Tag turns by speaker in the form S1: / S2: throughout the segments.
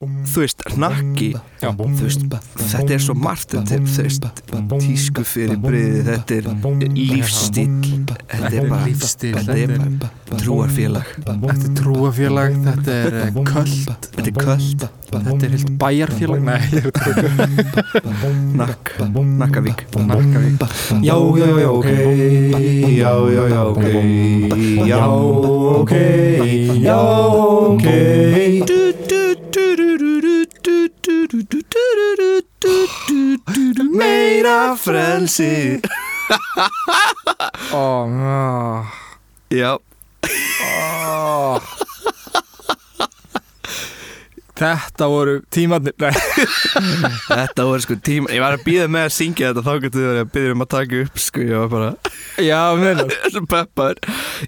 S1: þú veist, hnakki
S2: Já.
S1: þú veist, þetta er svo margt þetta er, þú veist, tísku fyrir breyði þetta er lífstíl þetta er bara,
S3: Lífstíll,
S1: þetta er bara trúarfélag
S3: Þetta er trúafélag, þetta er eh, köld,
S1: þetta er kvöld,
S3: þetta er heilt bæjarfélag Nei, ég veit ekki
S1: nakk, nakkavík
S3: Narkavík
S1: já, já, já, ok já, já, já, ok já, ok já, ok meira frelsi
S3: Ó, ná.
S1: já,
S3: Ó. Þetta voru tímarnir Nei,
S1: Þetta voru sko tíma Ég var að býða með að syngja þetta Þá getur þið að býða um að taka upp Sko ég var bara
S3: já, meðan
S1: Svo peppar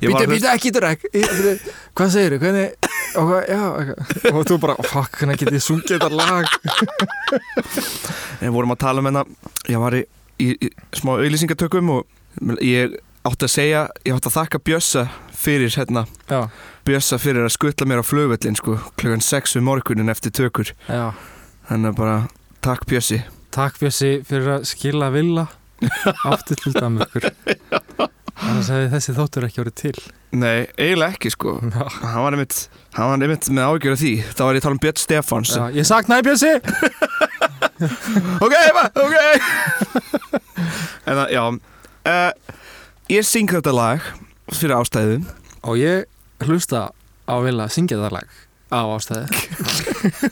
S1: Ég
S3: Býta,
S1: var að
S3: býta, ekki drekk Í- bíddu, Hvað segirðu, hvernig og, hvað, já, ok. og þú bara, "Oh, fuck, hvernig getið þið sungið þetta lag
S1: Við vorum að tala um hennar Ég var í, í, í smá auðlýsingatökum Og ég átti að segja Ég átti að þakka Bjössa fyrir hérna
S3: Já,
S1: Bjössa fyrir að skutla mér á flugvöllin sko Klukkan 6 um morgunin eftir tökur
S3: já
S1: Þannig að bara Takk Bjössi
S3: Takk Bjössi fyrir að skila villa aftur til Danmörkur annars hefði þessi þáttur ekki orðið til
S1: Nei, eiginlega ekki sko
S3: Já.
S1: Hann var einmitt, hann var einmitt með ágjör af því Þá var ég að tala um Björn Stefáns
S3: Já, Ég saknaði Bjössi
S1: Ok, ma- ok En það, já uh, Ég syng þetta lag Fyrir ástæðum
S3: og ég hlusta á villa að syngja það lag á ástæði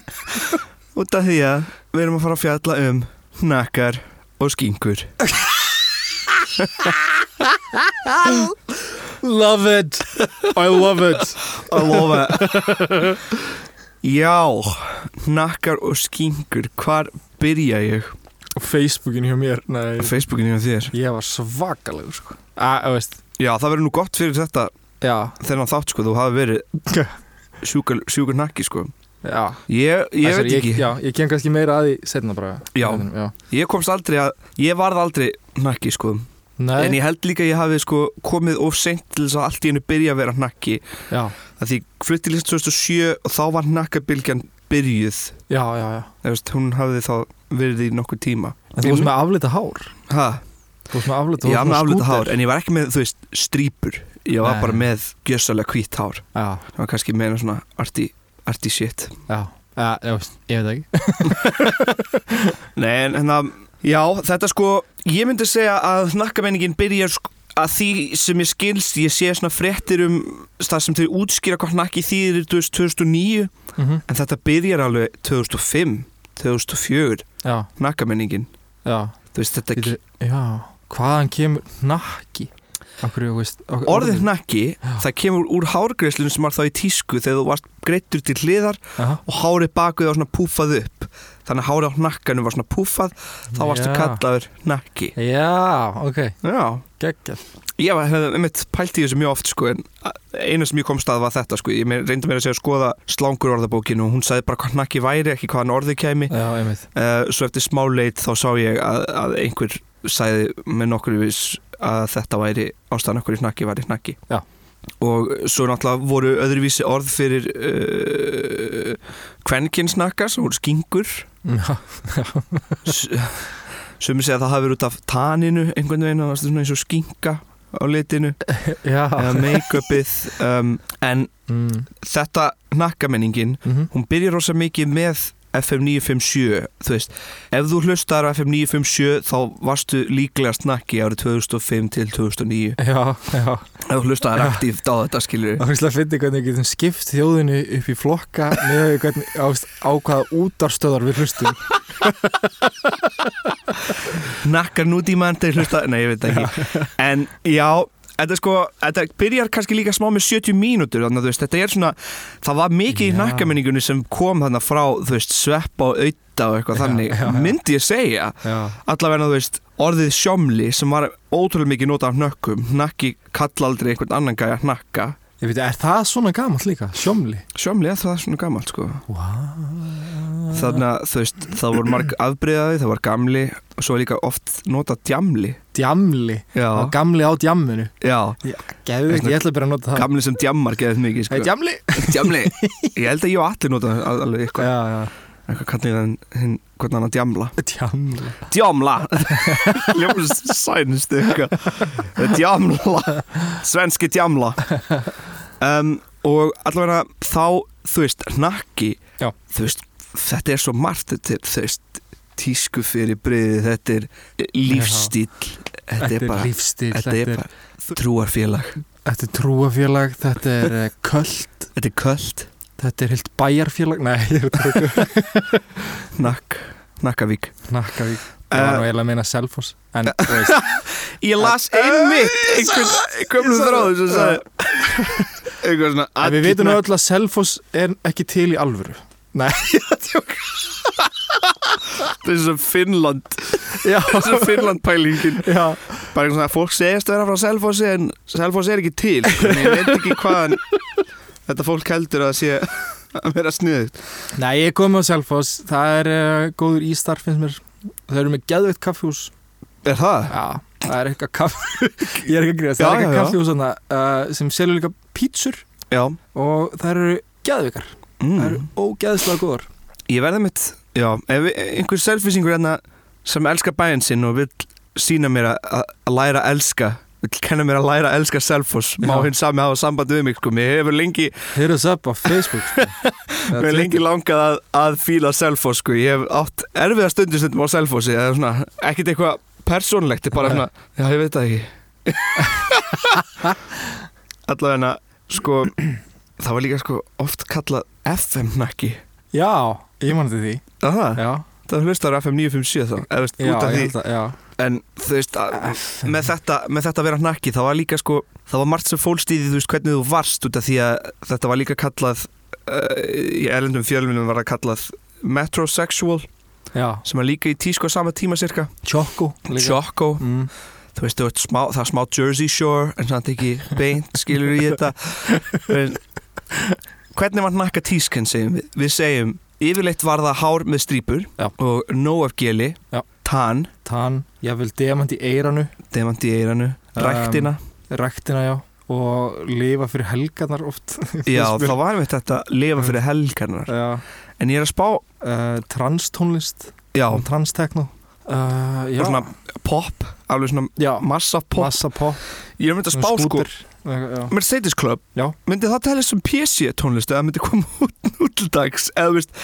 S1: Út af því að við erum að fara að fjalla um Hnakkar og skinkur
S3: Love it, I love it
S1: Að lofa Já Hnakkar og skinkur Hvar byrja ég?
S3: og Facebookin hjá mér Nei.
S1: Á Facebookinu hjá þér
S3: ég var svakalegur sko. A, að, veist,
S1: Já, það verður nú gott fyrir þetta
S3: já,
S1: Þennan þátt sko, þú hafi verið Sjúkur, sjúkur nakki sko
S3: já.
S1: Ég,
S3: Æ,
S1: ég
S3: sorry,
S1: veit ekki
S3: ég, já, ég kem kannski meira að því setna bara
S1: Já.
S3: já.
S1: Ég komst aldrei að Ég varð aldrei nakki sko
S3: Nei,
S1: En ég held líka að ég hafi sko komið of seint til þess að allt í hennu byrja að vera hnakki
S3: já,
S1: að því flutti lýst 2007 og þá var hnakkabilgjan byrjuð
S3: já, já, já.
S1: Þú veist, hún hafði þá verið í nokkur tíma
S3: En þú varst með aflita hár
S1: Ha,
S3: Þú varst með aflita, þú varst
S1: ég var með afluta
S3: skúter.
S1: hár en ég var ekki með, þú veist, strýpur Ég var
S3: Nei.
S1: bara með gjössalega hvítt hár
S3: Já,
S1: Það var kannski meina svona arty, arty shit
S3: já, já, já veist, ég veit ekki
S1: Nei, en hérna, já, þetta sko, ég myndi segja að hnakkameiningin byrjar sko að því sem ég skilst, ég sé svona fréttir um það sem þeir útskýra hvað hnakki þýðir 2009
S3: mm
S1: en þetta byrjar alveg 2005, 2004,
S3: Já,
S1: hnakkameiningin.
S3: já,
S1: Þú veist, þetta
S3: Bíddu, já Hvaðan kemur nakki? Akkur, ég veist ok-
S1: orðið hnakki,
S3: Já.
S1: það kemur úr hárgreislunum sem var þá í tísku þegar þú varst greittur til hliðar
S3: Aha,
S1: og hárið bakvið var svona púfað upp. Þannig að hárið á hnakkanum var svona púfað, þá varstu
S3: Já.
S1: kallaður hnakki.
S3: Já, ok,
S1: Já.
S3: geggjall
S1: Ég var- hefði einmitt pælt í þessu mjög oft sko en eina sem ég komst að var þetta sko ég me- reyndi mér að segja að skoða slangur orðabókinu og hún sagði bara hvað nakki væri, ekki hvaðan orði kæmi
S3: Já, einmitt
S1: uh, svo eftir smá leit þá sá ég að, að einhver sagði með nokkur viss að þetta væri ástæðan okkur í hnakki væri hnakki
S3: Já.
S1: og svo náttúrulega voru öðruvísi orð fyrir uh, kvenkinsnakka sem voru skingur
S3: Já,
S1: sumi segja að það hafi verið út af taninu einhvern veginn að það var svona eins og skinka á litinu
S3: já
S1: eða make-upið um, en
S3: mm.
S1: þetta nakkamenningin
S3: Mm
S1: hún byrjar rosa mikið með FM 957 þú veist, ef þú hlustar á FM 957 þá varstu líklega snakki árið 2005 til 2009
S3: Já, já
S1: ef þú hlustar aktíft á þetta skilur
S3: Það finnst að finna hvernig við getum skipt þjóðinu upp í flokka með því hvernig ást, á hvaða útarstöðar við hlustum.
S1: nakkar nútímann til hlusta, nei ég veit það ekki en já, þetta er sko þetta byrjar kannski líka smá með 70 mínútur þannig að þú veist, þetta er svona það var mikið í
S3: Já.
S1: nakkamenningunni sem kom þannig frá þú veist, svepp og auða og eitthvað
S3: Já,
S1: þannig,
S3: já, já.
S1: myndi ég segja
S3: Já,
S1: allavega þú veist orðið sjómli sem var ótrúlega mikið notað af hnökkum hnakki kalla aldrei einhvern annan gæja hnakka
S3: ég veit, er það svona gamalt líka? Sjómli?
S1: sjómli er það svona gamalt sko
S3: Wow.
S1: þannig að þú veist það voru marg afbreyðaði, það var gamli og svo er líka oft notað djamli
S3: Djamli.
S1: já,
S3: Og gamli á djamminu.
S1: já,
S3: Geðu ekki, ég ætla að byrja að nota það.
S1: gamli sem djammar geðið mikið
S3: Hei,
S1: sko
S3: djamli!
S1: djamli Ég held að ég og allir nota al- alveg eitthvað
S3: já, já,
S1: Eitthvað kallið hann, hinn, hvernig hann að djamla
S3: djamla
S1: Djamla Ljófum sænist eitthvað Djamla Svenski djamla um, Og allavega þá, þú veist, hnakki
S3: Já.
S1: Þú veist, þetta er svo margt Þetta er, þú veist, tísku fyrir breiði Þetta er lífstíl Þetta,
S3: Þetta
S1: er bara,
S3: lífstíl,
S1: þetta er bara trúarfélag
S3: þetta er trúafélag, þetta er eh, köld,
S1: Þetta er köld
S3: þetta er heilt bæjarfélag Nei, ég veit ekki
S1: Nakk, Nakkavík
S3: Nakkavík Ég var nú
S1: uh,
S3: eiginlega að meina Selfoss En þú veist,
S1: Ég las einmitt einhvern gömlu þráðu sem sagði eitthvað svona
S3: en við veitum öll að Selfoss er ekki til í alvöru
S1: Þetta er svo Finnland
S3: Já,
S1: Þetta er Finnland pælingin
S3: já
S1: Bara eitthvað svona fólk segist að vera frá Selfossi en Selfoss er ekki til sko, en Ég veit ekki hvaðan þetta fólk heldur að sé að vera sniðugt
S3: Nei, ég kom á Selfoss, það er uh, góður ístar finnst mér Það eru með geðveitt kaffjús
S1: Er það?
S3: Já, það er eitthvað kaff Ég er ekki að gríðast, það er
S1: Já, já, já.
S3: eitthvað kaffjús þarna, uh, sem selur líka pítsur
S1: Já
S3: og það eru geðvikar, það eru
S1: mm.
S3: ógeðslega góðar
S1: Ég verði mitt Já, ef einhver selfisingur hérna sem elskar bæinn sinn og vill sína mér að- að að læra að elska vill kenna mér að læra að elska Selfoss má
S3: Já.
S1: hinn sami hafa sambandi við mig sko, mér hefur lengi
S3: Hit us up á Facebook sko. Eða
S1: Mér er lengi langað að, að fíla Selfoss sko. Ég hef átt erfiða stundir stundum á Selfossi eða svona, ekkert eitthvað persónlegt, ég bara
S3: Nei.
S1: svona, já ég veit það ekki Allavega sko það var líka sko oft kallað FM-nakki
S3: Twitter. Já, ég mann þetta því
S1: Það það,
S3: Já,
S1: það hlustar á FM 957 þá eða, veist,
S3: já,
S1: út af
S3: ég
S1: því,
S3: held að, já.
S1: en þú veist að, með, þetta, með þetta að vera nakki, það var líka sko það var margt sem fólst í því, þú veist, hvernig þú varst út af því að þetta var líka kallað uh, í erlendum fjölminum var það kallað metrosexual
S3: já
S1: sem er líka í tísku á sama tíma cirka
S3: Choco líka.
S1: Choco,
S3: mm.
S1: þú veist, þú ert smá, það er smá Jersey Shore en samt ekki beint skilur í þetta en, hvernig var nakka tískan segjum við, við segjum, yfirleitt var það hár með strípur
S3: Já.
S1: og nóg af geli
S3: Já.
S1: tann,
S3: Tann, ég vil demant í eiranu
S1: demant í eiranu ræktina,
S3: Ræktina, já Og lifa fyrir helgarnar oft
S1: já,
S3: finnst mér-
S1: þá var við þetta lifa fyrir helgarnar
S3: Já
S1: en ég er að spá,
S3: uh, Transtónlist
S1: já, Eh,
S3: Transtekno uh, Já
S1: bara svona pop alveg svona
S3: Já
S1: massa pop
S3: Massa pop
S1: ég er myndið að spá sko
S3: Já
S1: Mercedes Club
S3: Já.
S1: myndi það tala sem PC tónlist eða myndi koma út nútildags eða þú veist,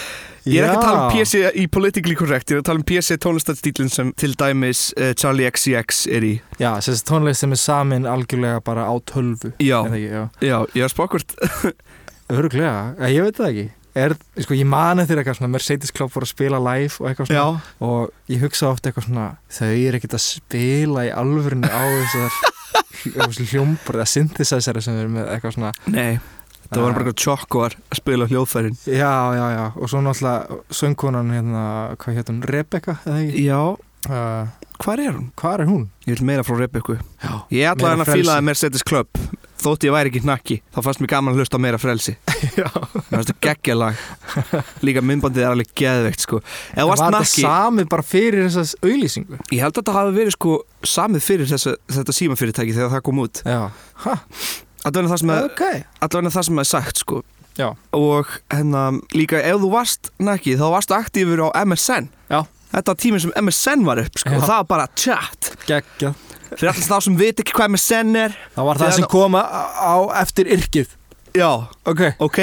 S1: ég er ekki að tala um
S3: Já.
S1: PC í politically correct, ég er að tala um PC tónlistarstílinn sem til dæmis uh, Charlie XCX er í
S3: Já, þessi tónlist sem er samin algjörlega bara á tölvu
S1: já,
S3: Er það ekki, já
S1: já, ég er spákvort
S3: Öruglega, ég veit það ekki er, sko, Ég mani þér eitthvað svona Mercedes Club voru að spila live og eitthvað svona og ég hugsa oft eitthvað svona þau eru ekkert að spila í alvörinu á þessar hljómbrið að synthesizera sem eru með eitthvað svona
S1: nei, það var bara
S3: Ah.
S1: eitthvað tjokkoar að spila á hljóðfærin
S3: Já, já, já, og svo náttúrulega söngkonan hérna, hvað hétt hún, Rebecca eða ekki?
S1: já,
S3: Uh,
S1: hvar er hún?
S3: hvað er hún?
S1: ég vil meira frá Rebekku
S3: Já,
S1: ég
S3: Meira
S1: ætla hann að
S3: frelsi.
S1: fílaði Mercedes Club þótt ég væri ekki knakki, þá fannst mér gaman að hlusta á meira frelsi
S3: já.
S1: Mér fannst það geggjalag Líka myndbandið er alveg geðveikt sko Ef þú
S3: Var
S1: varst
S3: þetta
S1: nakki
S3: samið bara fyrir þessas auðlýsingu?
S1: Ég held að þetta hafi verið sko samið fyrir þessa, þetta símafyrirtæki þegar það kom út
S3: Já, ha,
S1: Allavega það sem er,
S3: ok
S1: allavega það sem er sagt sko
S3: Já.
S1: Og hérna líka ef þú varst næki þá varst aktífur á MSN
S3: Já.
S1: Þetta var tíminn sem MSN var upp sko
S3: Já.
S1: og það var bara chat
S3: Gekkja
S1: Fyrir alltaf þá sem veit ekki hvað MSN er
S3: Það var það
S1: Þegar-
S3: sem koma á á eftir yrkið
S1: Já,
S3: Ok
S1: ok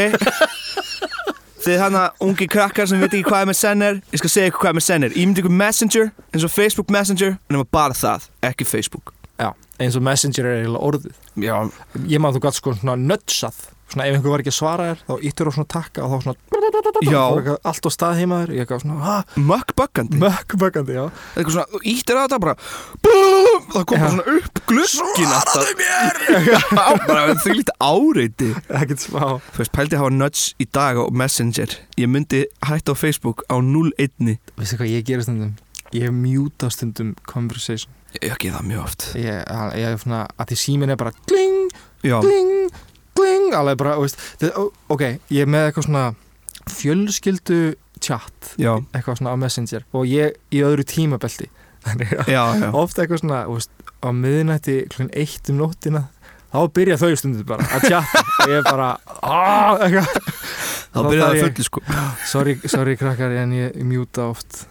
S1: Þið hana ungi krakkar sem veit ekki hvað MSN er Ég skal segja ykkur hvað MSN er Ímynd ykkur Messenger eins og Facebook Messenger Nefna bara það, ekki Facebook
S3: Já, eins og Messenger er eiginlega orðið
S1: Já,
S3: Ég maður þú gætt sko svona nötsað Svona ef einhver var ekki að svara þér Þá íttur á svona takka og þá svona
S1: Já.
S3: Fór eitthvað Allt á stað heima þér Ég gaf svona ha,
S1: mökkböggandi
S3: Mökkböggandi, já
S1: eitthvað svona, þú ítir að þetta bara BOOM, það kom bara
S3: Já.
S1: svona upp glöskin Svaraðu mér! Já, bara því lítið áreiti
S3: Ekkert smá
S1: Þú veist, pældi að hafa nudge í dag á Messenger Ég myndi hætta á Facebook á 01
S3: Veistu hvað ég gerir stundum? Ég mjúta stundum conversation
S1: Ég ekki það mjög oft
S3: Ég, að- ég er svona Að því síminn er bara Gling,
S1: Já,
S3: gling, gling Alveg bara, þú veist þið- ó, Ok, ég er með eitthvað svona Fjölskyldu chat
S1: já,
S3: eitthvað svona á Messenger og ég í öðru tímabelti þannig að
S1: já, já
S3: ofta eitthvað svona þú veist, á miðnætti klun eitt um nóttina þá byrja þau stundum bara að tjata og ég er bara "Ah", eitthvað.
S1: Þá byrjaði
S3: þarf
S1: það
S3: ég-
S1: fulli sko
S3: sorry, sorry krakkar en ég mjúta oft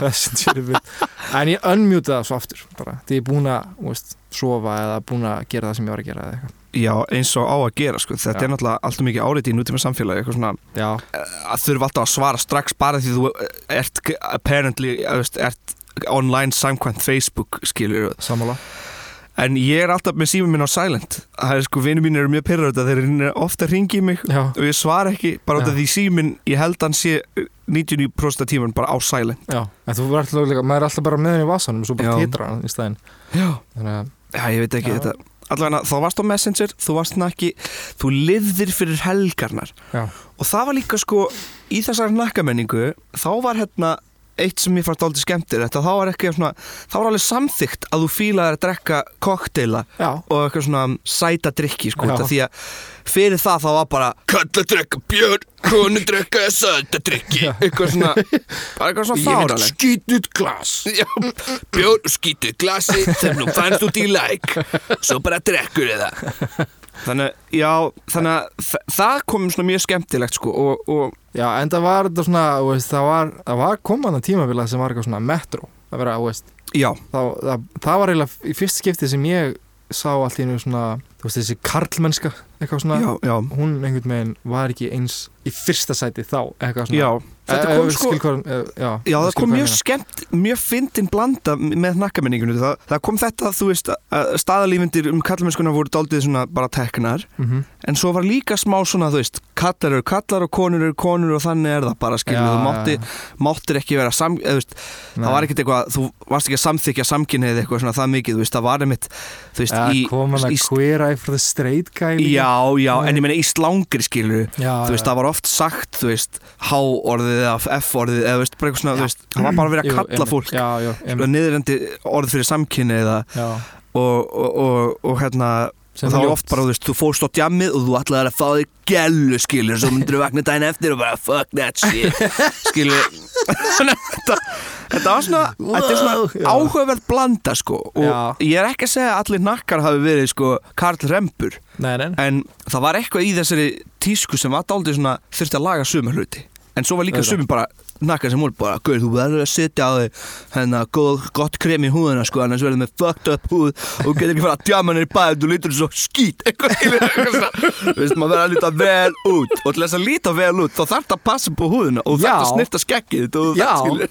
S3: Messenger við- en ég unmjúta það svo aftur bara, því ég er búin að þú veist, sofa eða búin að gera það sem ég var að gera eða eitthvað.
S1: Já, eins og á að gera sko Þetta
S3: Já.
S1: er náttúrulega alltaf mikið áriði í nútíma samfélagi eitthvað svona eh,
S3: já,
S1: að þurfa alltaf að svara strax bara því þú eh, ert k- apparently eh, veist, ert online samkvæmt Facebook skilur
S3: sammála
S1: en ég er alltaf með símum minn á silent það er sko vinnu mín eru mjög pyrrað þeir eru ofta að ringi mig
S3: já,
S1: og ég svara ekki bara út af
S3: Já.
S1: því síminn ég held hann sé eh, 99% af tíman bara á silent
S3: já, en þú verður alltaf líka maður er alltaf bara með henni í vasanum og svo bara
S1: Já.
S3: titra hann í stæðin
S1: Já,
S3: þannig að,
S1: ég veit ekki
S3: Já.
S1: þetta allavega þá varst á Messenger, þú varst nakki þú liðir fyrir helgarnar
S3: já,
S1: og það var líka sko í þessari nakkamenningu þá var hérna eitt sem ég fannst aldrei skemmtir þetta þá var ekki svona þá var alveg samþygt að þú fílaðir að drekka kokteila
S3: já,
S1: og eitthvað svona sæta drikki sko
S3: Já.
S1: þetta, því að fyrir það þá var bara kalla drekka björn, konu drekka sæta drikki eitthvað svona bara eitthvað svona fáraleg
S3: skítið glas
S1: Já, bjór skýtu glasi þegar nú fannst út í læk svo bara drekkur eða þannig, já, þannig að þa- það kom svona mjög skemmtilegt sko og, og
S3: já, en það var þetta svona, þú veist, það var það var komaðan tímabilið sem var eitthvað svona metro, það verða, þú veist
S1: já,
S3: þá, það, það var eiginlega í fyrst skipti sem ég sá allt í einu svona þú veist þessi karlmennska eitthvað svona
S1: já, já,
S3: hún einhvern veginn var ekki eins í fyrsta sæti þá eitthvað svona
S1: já þetta kom sko
S3: skilkor, já,
S1: Já,
S3: ég
S1: það
S3: skil
S1: kom
S3: hvað
S1: mjög
S3: ég meina.
S1: skemmt, mjög fyndin blanda með nakkamenningunni, það, það kom þetta að þú veist að staðalífindir um kallmennskuna voru daldið svona bara teknar
S3: Mhm.
S1: en svo var líka smá svona þú veist kallar eru kallar og konur eru konur og þannig er það bara skilur,
S3: Já,
S1: þú mátti,
S3: já,
S1: máttir ekki vera sam, eða, þú veist,
S3: nei.
S1: það var ekkert eitthvað, þú varst ekki að samþykja samkynnið eitthvað svona það mikið, þú veist, það var einmitt þú veist,
S3: ja,
S1: í,
S3: kom hann að
S1: í,
S3: queer eye for the straight guy líka.
S1: já, já, en ég meina í slangri skilur,
S3: já,
S1: þú veist,
S3: já.
S1: það var oft sagt þú veist, H-orðið eða F-orðið eða, þú veist, bara eitthvað svona,
S3: Já.
S1: þú veist, það var bara verið
S3: Jú,
S1: að kalla
S3: einmitt.
S1: fólk
S3: já, já,
S1: og
S3: einmitt,
S1: niðurendi orð fyrir samkynnið eða,
S3: já,
S1: og, og, og, og hérna
S3: Sem
S1: og það
S3: er
S1: var
S3: ljótt.
S1: oft bara, þú veist, þú fórst á djammið og þú ætlaðir að fá þig gælu, skilur svo myndir þú vakna daginn eftir og bara fuck that shit, skilur þetta, þetta var svona þetta
S3: já.
S1: er svona áhugaverð blanda, sko og
S3: Já.
S1: ég er ekki að segja að allir nakkar hafi verið, sko, Karl Rembur
S3: nei, nei,
S1: en það var eitthvað í þessari tísku sem var dálítið svona, þurfti að laga suma hluti en svo var líka
S3: Auðvitað.
S1: sumi bara nakkar sem voru bara, gauð, þú verður að setja á þig hérna, góð, gott krem í húðina sko, annars verður með fucked up húð og þú getur ekki fara að djama henni í bæði, þú lítur svo skít eitthvað, skilur, eitthvað svona. Þú veist, maður verður að líta vel út og til þess að líta vel út þá þarf það að passa upp á húðina og þarf það að
S3: Já.
S1: snirta skekkið þitt og þú
S3: Já.
S1: þarft, skilur.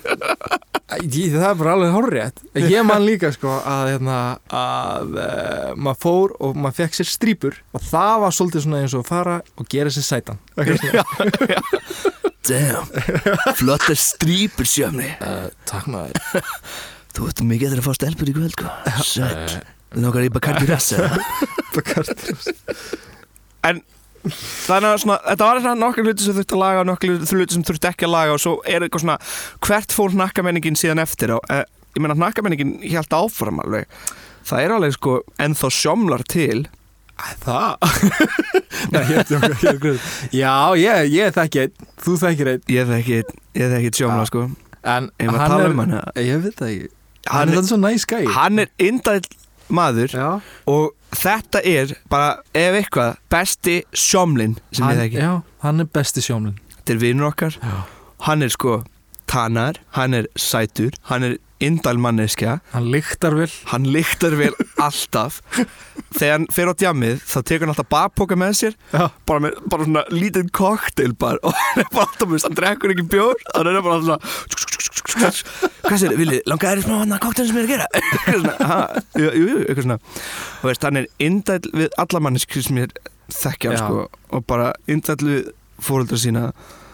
S3: Ég, það er bara alveg horrið Ég man líka sko að, hérna, að uh, maður fór og maður fekk sér strípur og það var svolítið svona eins og að fara og gera sér sætan uh,
S1: Damn, flottar strípur sjöfni
S3: Eh, Takk maður
S1: Þú ert mikið eftir að fá stelpur í kvöld, sko. Sæll. Nókar í Bacardi Rassa. en þannig að svona, þetta var svona nokkur hluti sem þurfti að laga og nokkur hluti sem þurfti ekki að laga og svo er eitthvað svona, hvert fór nakkamenningin síðan eftir og eh, ég meina nakkamenningin hjælt áfram alveg. Það er alveg sko ennþá sjómlar til.
S3: Það? Nei, ég er að djóka, ég er að gruna. Já, ég, ég þekki einn, þú þekkir einn
S1: Ég þekki, ég þekki sjómla,
S3: Ja.
S1: sko.
S3: En
S1: Ég maður tala
S3: Ah.
S1: um
S3: er,
S1: hana.
S3: ég veit það ekki Hann
S1: Hann,
S3: er þannig svo næs gæi
S1: er- hann er indæl maður
S3: Já,
S1: og þetta er bara, ef eitthvað, besti sjómlin sem
S3: hann,
S1: ég þekki.
S3: já, hann er besti sjómlin
S1: Þetta er vinnur okkar
S3: Já.
S1: Hann er sko tannar, hann er sætur Hann er indalmanneskja
S3: Hann lyktar vel
S1: Hann lyktar vel alltaf Þegar hann fer á djamið þá tekur hann alltaf bakpoka með sér
S3: Já.
S1: bara, með, bara svona lítið koktel bara og hann er bara alltaf með hann drekkur ekki bjór hann er bara alltaf svona Hvað sér, Vili, langaði þér í smá hann að koktelin sem ég er að gera Eitthvað svona, ha, jú, jú, jú, eitthvað svona og veist, hann er indæll við alla manneskjur sem ég þekkja hann
S3: Já.
S1: sko og bara indæll við fóreldra sína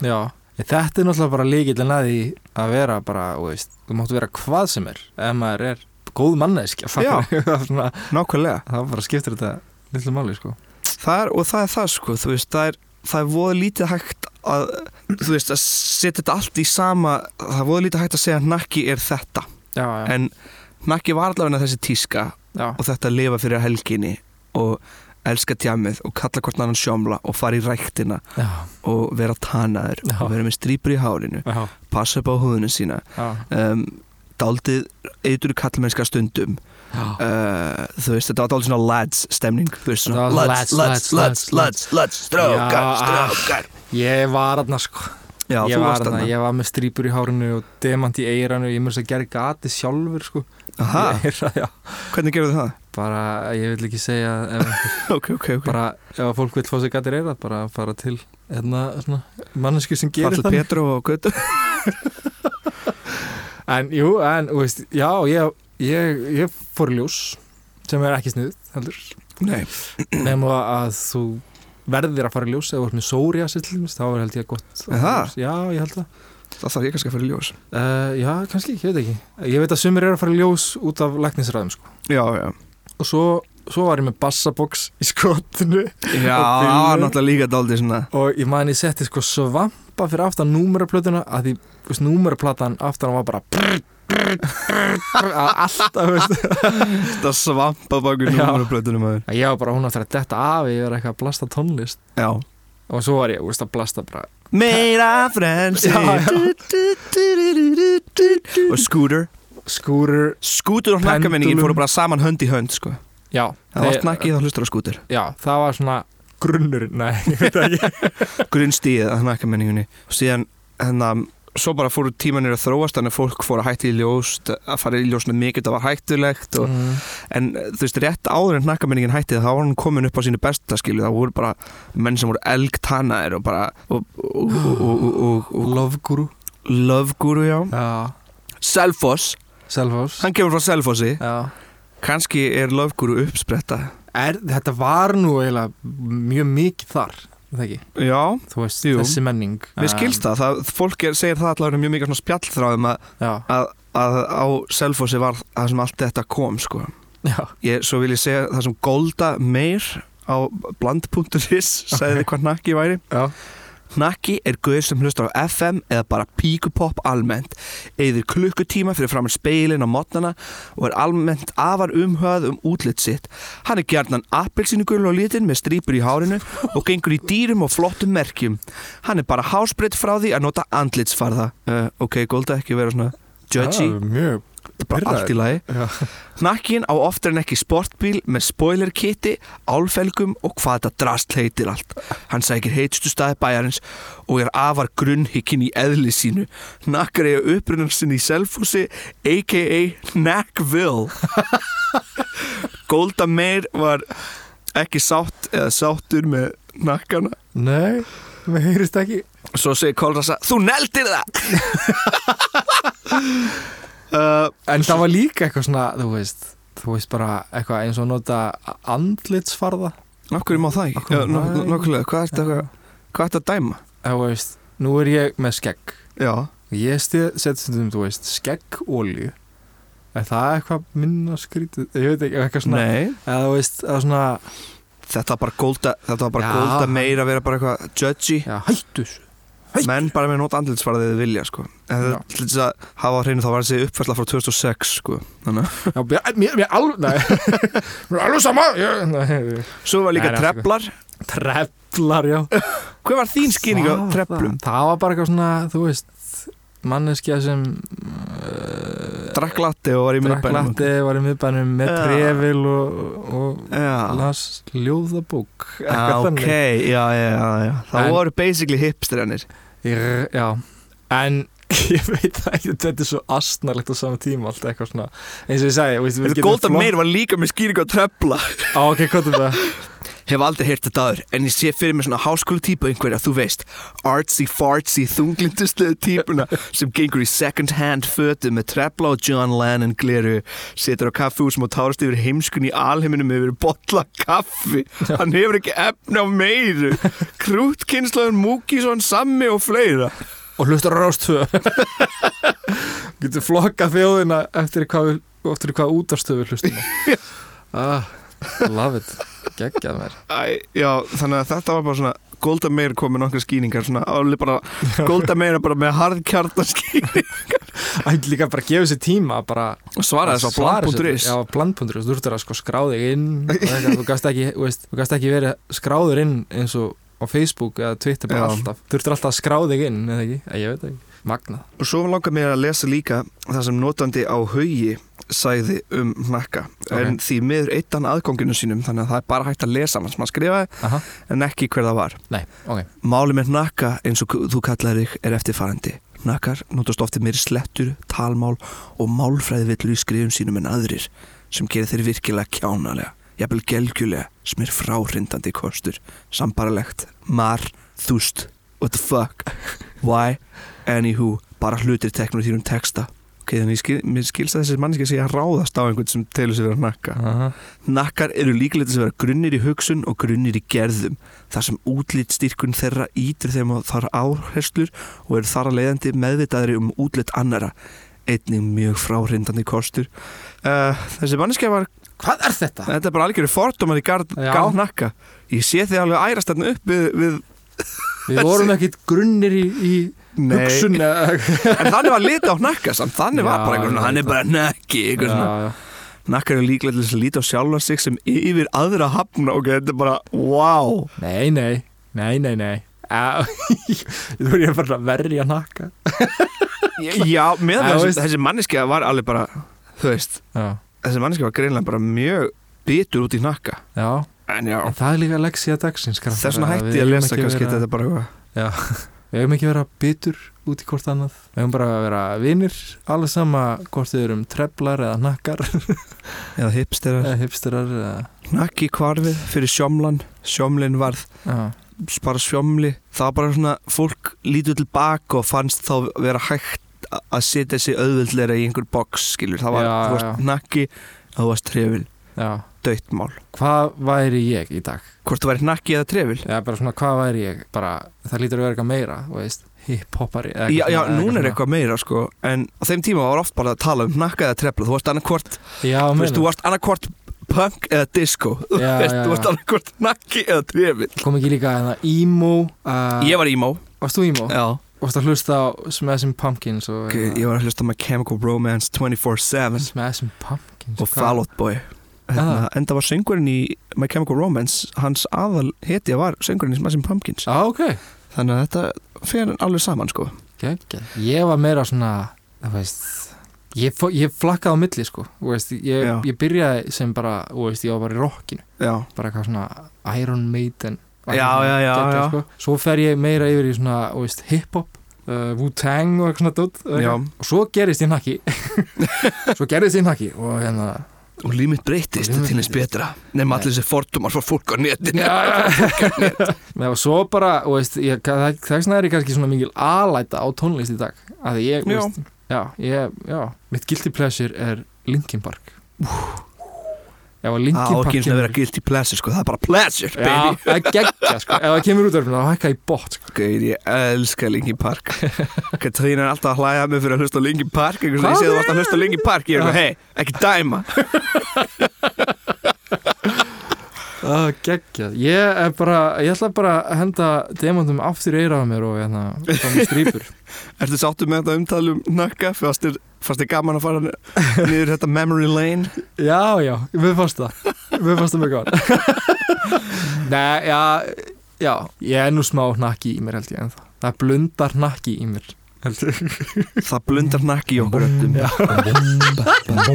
S3: Já, en þetta er náttúrulega bara líkillin að því að vera bara, þú veist, þú máttu vera hvað sem er ef maður er góð manneskja
S1: Já.
S3: fattar þú? Svona,
S1: Nákvæmlega
S3: það bara skiptir þetta litlu máli, sko
S1: það er, og það er það sko þú veist, það er, það er voða lítið hægt að, þú veist, að setja þetta allt í sama, það er voða lítið hægt að segja að nakki er þetta,
S3: Já, já,
S1: en nakki var allavega þessi tíska
S3: já,
S1: og þetta að lifa fyrir helginni og elska tjamið og kalla hvort annan sjómla og fara í ræktina
S3: já,
S1: og vera tanaður
S3: Já.
S1: og vera með strýpur í hárinu
S3: já,
S1: passa upp á húðinu sína
S3: já.
S1: um, daldið eitur kallmennska stundum
S2: Já.
S1: uh, þú veist, þetta var daldið svona lads stemning þú veist, svona
S3: Það var
S1: lads,
S3: lads,
S1: lads,
S3: lads, lads,
S1: lads, lads, lads, strákar,
S3: Já,
S1: strákar
S3: Ég var aðna sko
S1: Já,
S3: ég
S1: þú
S3: var,
S1: varst
S3: þarna,
S1: þarna
S3: ég var með strýpur í hárinu og demant í eiranu ég mjög að gera gati sjálfur sko.
S1: Aha,
S3: Í eyrað, já.
S1: hvernig gerðu það?
S3: bara, ég vil ekki segja ef,
S1: ok, ok, ok
S3: bara, ef fólk vil fá sér gati eirað bara fara til hérna, svona, mannesku sem gerir
S1: Fallið
S3: það
S1: Petru og Götu
S3: en jú, en, þú veist, já, ég, ég, ég fór í ljós sem er ekki sniðut, heldur
S1: Nei,
S3: nema að þú verðir að fara í ljós eða vart með sóri að sér til dæmis, þá er held ég gott að
S1: Er það?
S3: fara í ljós. Já, ég held það
S1: það þarf ég kannski að fara í ljós
S3: uh, Já, kannski, ég veit ekki Ég veit að sumir eru að fara í ljós út af læknisræðum sko.
S1: Já, já
S3: og svo, svo var ég með bassaboks í skotinu
S1: Já,
S3: Og
S1: það var
S3: bílnum.
S1: náttúrulega líka daldið svona
S3: og ég man ég setti sko svampa fyrir aftan númeraplötuna að því, þú veist, númeraplatan aftan var bara brr, brr, brr, brr, að alltaf, þú veist
S1: Þetta svampa bakur
S3: Já.
S1: númuraplötunum aður
S3: að ég var bara hún aftur að detta af ég var eitthvað að blasta tónlist
S1: Já
S3: og svo var ég, þú veist, að blasta bara
S1: Meira frelsi
S3: Já, já.
S1: Du, du, du, du, du, du, du, du. Og skútur
S3: skúrur,
S1: Skútur og hnakkamenningin
S3: Pendulum.
S1: fóru bara saman hönd í hönd sko.
S3: já
S1: Það var
S3: þeir-
S1: hnakki þá hlustur á skútur
S3: já, það var svona grunnurinn, nei, ég veit það ekki
S1: Grunnstíð að hnakkamenningunni Og síðan hennan Svo bara fóru tímanir að þróast Þannig að fólk fóru að hætti í ljós Að fara í ljós með mikið Það var hættulegt og,
S3: Mm.
S1: En eh, þú veist, rétt áður en hnakkamenningin hætti Þá var hann komin upp á sínu besta skilu Það voru bara menn sem voru elgtanaðir Og bara og, og, og, og, og, og,
S3: Love Guru
S1: og Love guru, já
S3: já,
S1: Selfoss,
S3: Selfos
S1: hann kemur frá Selfossi
S3: já
S1: Kanski er Love guru uppspretta
S3: er, þetta var nú eiginlega mjög mikið þar, er það ekki
S1: Já,
S3: þú veist,
S1: Jú.
S3: þessi menning
S1: mér skilst það, það Fólk er, segir það allavega mjög mikið svona spjallþráðum að,
S3: já,
S1: að, að á Selfossi var það sem allt þetta kom sko.
S3: já,
S1: ég, Svo vil ég segja það sem Golda Meir á bland.is sagði okay. hvað nakki væri
S3: já.
S1: Nakki er guður sem hlustar á FM eða bara píkupopp almennt, eyðir klukkutíma fyrir framar speilin á mótnana og er almennt afar umhöð um útlitt sitt. Hann er gjarnan appelsinu gul og litin með strýpur í hárinu og gengur í dýrum og flottum merkjum. Hann er bara hásbreytt frá því að nota andlitsfarða. Uh, ok, Golda, ekki vera svona judgy,
S3: Já, mjög
S1: þetta er bara
S3: pirraður.
S1: allt í lagi.
S3: Já.
S1: Nakkin á oftar en ekki sportbíl með spoiler kiti, álfelgum og hvað þetta drast heitir allt. Hann sækir heitstu staði bæjarins og er afar grunnhikkin í eðli sínu. Nakkar eiga upprunnar sinni í Selfossi, a.k.a. Nackville. Golda Meir var ekki sátt eða sáttur með nakkana.
S3: Nei, mér heyrist ekki
S1: Svo segir Kolrasa, þú neldir það! uh,
S3: En það var líka eitthvað svona, þú veist Þú veist bara eitthvað eins og nota andlitsfarða
S1: Akkur má það
S3: Af
S1: ekki?
S3: hverju
S1: Já,
S3: má það ekki?
S1: Nákvæmlega, hvað ertu að- hvað ertu að dæma?
S3: Þú veist, nú er ég með skegg
S1: Já,
S3: Ég stið, set stundum, þú veist, skeggolju Er það eitthvað minna skrítið? Ég veit ekki, eitthvað svona
S1: nei
S3: Eða þú veist, eða svona
S1: Þetta var bara golda, þetta var bara
S3: Já.
S1: golda meira að vera bara eitthvað judgy
S3: Já, hættu þessu Hey.
S1: Menn bara með nót andlitsvarðið þið vilja sko En
S3: Já.
S1: þetta til þess að hafa á hreinu þá var þessi uppfærsla frá 2006 sko Þannig. að-
S3: Já, mér, mér, mér alveg, nei Mér er alveg sama ég, nei.
S1: Svo var
S3: Nei,
S1: líka
S3: nei, afsakið.
S1: treflar
S3: Treflar, já
S1: Hver var þín skýring á
S3: Það-
S1: treflum?
S3: það, það var bara eitthvað svona, þú veist manneskja sem uh,
S1: Drakk latti og var í miðbænum
S3: draklatti var í miðbænum með
S1: Já.
S3: trefil og, og
S1: Já,
S3: las ljóðabók
S1: ah,
S3: eitthvað
S1: ok, já, já, já, já Það
S3: En-
S1: voru basically hipsterjanir
S3: Ég- já, en ég veit það ekki, þetta er svo astnarlegt á sama tíma allt eitthvað svona eins og ég segi, veist, við getum
S1: Golda
S3: flott-
S1: meir var líka með skýring á trefla
S3: á, ok, hvað er það?
S1: Hef aldrei heyrt þetta aður, en ég sé fyrir mér svona háskóla típu einhverja, þú veist, artsy-fartsy, þunglinduslega típuna sem gengur í second-hand fötu með trefla og John Lennon gleru, setur á kaffihúsum og tárast yfir heimskun í alheiminum yfir botla kaffi. Hann hefur ekki efna á meiru. Krútkinnslaðun Múkísson, Sammi og fleira.
S3: og hlustar á rástöðu getur flokkað þjóðina eftir hvað, við- eftir hvað útastöðu hlustum á. ah, love it geggjað mér
S1: Æ, já, þannig að þetta var bara svona Golda Meir kom með nokkra skýningar svona, alveg bara, Golda Meir er bara með harðkjartaskýning
S3: Það er líka bara að gefa sér tíma að bara
S1: Svaraði þess á
S3: svara sér.
S1: bland.is
S3: Já, bland.is, þú ertur að sko skráðið inn og eitthvað, þú gast ekki, þú veist, þú gast ekki verið skráður inn eins og á Facebook eða Twitter bara
S1: Já.
S3: alltaf þurftur alltaf að skrá þig inn eða ekki, ég, ég veit það ekki magnað,
S1: Og svo langar mér að lesa líka það sem notandi á haugi sagði um hnakka
S3: Ok.
S1: en því miður eittan aðgónginu sínum þannig að það er bara hægt að lesa hann sem að skrifaði
S3: aha,
S1: en ekki hver það var
S3: nei, ok
S1: Máli með hnakka eins og þú kallar þig er eftirfarandi Hnakkar notast ofti meiri slettur, talmál og málfræði villu í skrifum sínum en aðrir sem gerir þeir virkilega kjánalega jafnvel gelgjulega sem er fráhrindandi kostur sambarlegt mar, þúst, what the fuck why, anywho bara hlutir teknur í þínum texta ok, þannig skil, mér skilst að þessi manneski sé að ráðast á einhvern sem telur sér vera hnakka
S3: aha,
S1: Nakkar eru líklega til að vera grunnir í hugsun og grunnir í gerðum þar sem útlitstyrkun þeirra ítur þeim á þar áherslur og eru þar að leiðandi meðvitaðri um útlit annara einnig mjög fráhrindandi kostur uh, Þessi manneskja var
S3: hvað er þetta?
S1: þetta er bara algjöru fordómar í garð,
S3: Já.
S1: garð nakka Ég sé þið alveg ærast þarna upp við, við
S3: við vorum ekkit grunnir í, í hugsun eða
S1: En þannig var liti á nakka samt Þannig var
S3: Já,
S1: bara einhvern
S3: ég
S1: hann
S3: veit
S1: er bara nakki einhver svona.
S3: Já, já.
S1: Nakkar eru líklega til þess að líti á sjálfa sig sem yfir aðra hafna og þetta er bara, wow
S3: nei, nei, nei, nei, nei Á, þú er ég bara verri að nakka
S1: Já, með
S3: Já,
S1: það
S3: veist-
S1: þessi, þessi manneski var alveg bara, þú veist
S3: já,
S1: þessi manneski var greinlega bara mjög bitur út í nakka
S3: já,
S1: En já,
S3: en það er líka leksíða dagsins krakkar,
S1: þess vegna
S3: að
S1: hætti
S3: við
S1: ég að
S3: eigum
S1: lesa
S3: ekki
S1: kannski
S3: vera-
S1: þetta er bara eitthvað
S3: Við hefum ekki að vera bitur út í hvort annað Við hefum bara að vera vinnir Alveg sama hvort þau eru um treflar eða nakkar
S1: Eða hipsterar
S3: Eða hipsterar eða
S1: Nakki kvarfið fyrir sjómlan, sjómlin varð
S3: Já,
S1: bara sjómli Það var bara svona, fólk lítið tilbaka og fannst þá vera hægt a- að setja sig auðvöldleira í einhver box skilur, það var,
S3: Já,
S1: þú varst nakki að þú varst trefil,
S3: já
S1: döitt mál
S3: Hvað væri ég í dag?
S1: Hvort þú væri nakki eða trefil
S3: Eða bara svona hvað væri ég? Bara það lítur að vera eitthvað meira þú veist, Hiphoppari eða
S1: Já,
S3: eitthvað
S1: já,
S3: svona- eða
S1: núna er eitthvað meira sko En á þeim tíma var oft bara að tala um nakka eða trefla Þú varst annarkvort,
S3: svona. Já,
S1: þú veist, þú
S3: meina
S1: varst annarkvort punk eða disco Þú
S3: Já,
S1: veist,
S3: já,
S1: þú varst
S3: já.
S1: annarkvort nakki eða trefill
S3: Kom ekki líka að það emo uh,
S1: Ég var emo
S3: Varst þú emo?
S1: Já,
S3: Varst að hlusta á Smashing Pumpkins og,
S1: ok, ég var að hlusta á My Chemical Romance 24-7
S3: Smashing Pumpkins
S1: Og Fall Out Boy
S3: Ah.
S1: Hérna, Enda var söngurinn í My Chemical Romance Hans aðal hetja var söngurinn í Smashing Pumpkins
S3: Já, Ah, ok
S1: Þannig að þetta fer alveg saman sko
S3: Gengja. Ég var meira svona, þú veist, ég, fó- ég flakkaði á milli, sko, þú veist, ég,
S1: Já.
S3: ég byrjaði sem bara, þú veist, ég var bara í rockinu,
S1: Já,
S3: bara eitthvað svona Iron Maiden.
S1: Já, já, já,
S3: geggjað,
S1: já.
S3: Sko. Svo fer ég meira yfir í svona, þú veist, hip-hop, uh, Wu-Tang og eitthvað svona dótt.
S1: já
S3: Og svo gerist ég nakki, svo gerist ég nakki og hérna,
S1: Og límit breytist
S3: Og líf mitt
S1: til þess betra Nefn allir þessi fordumar frá fólk á netinu
S3: Nei, og svo bara, þú veist, ég, það, þess vegna er ég kannski svona mikil alæta á tónlist í dag að ég, þú
S1: Já.
S3: veist, já, ég, já mitt guilty pleasure er Linkin Park ef að Linkin
S1: Það á
S3: Park
S1: ekki Ah, eins og að vera guilty pleasure sko, það er bara pleasure
S3: já,
S1: baby
S3: það er geggja, sko, ef það kemur út af það, þá hækka ég í bótt, sko
S1: Gauð, ég elska Linkin Park Katrín er alltaf að hlæja að mig fyrir að hlusta á Linkin Park Einhvers veginn
S3: Hvað
S1: séð þú varst að hlusta á Linkin Park Ég er eitthvað, hei, ekki dæma
S3: það er geggja, ég er bara ég ætla bara að henda demandum aftur í eiraða mér og hérna, þá mér strýpur
S1: Ertu sáttu með þetta umtalum nakka Fannst þér- fannst þér gaman að fara ni- niður þetta memory lane
S3: Já, já, við fannst það Við fannst það mjög góðan Nei, já, já Ég er nú smá hnakki í mér held ég ennþá Það blundar hnakki í mér held ég
S1: Það blundar nakki í okkur öllum
S3: Já.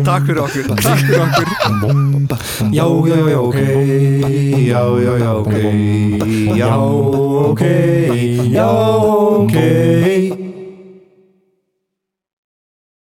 S1: Takk fyrir okkur
S3: Takk fyrir okkur
S1: Já, já, já, ok Já, já, já, ok Já, ok Já, ok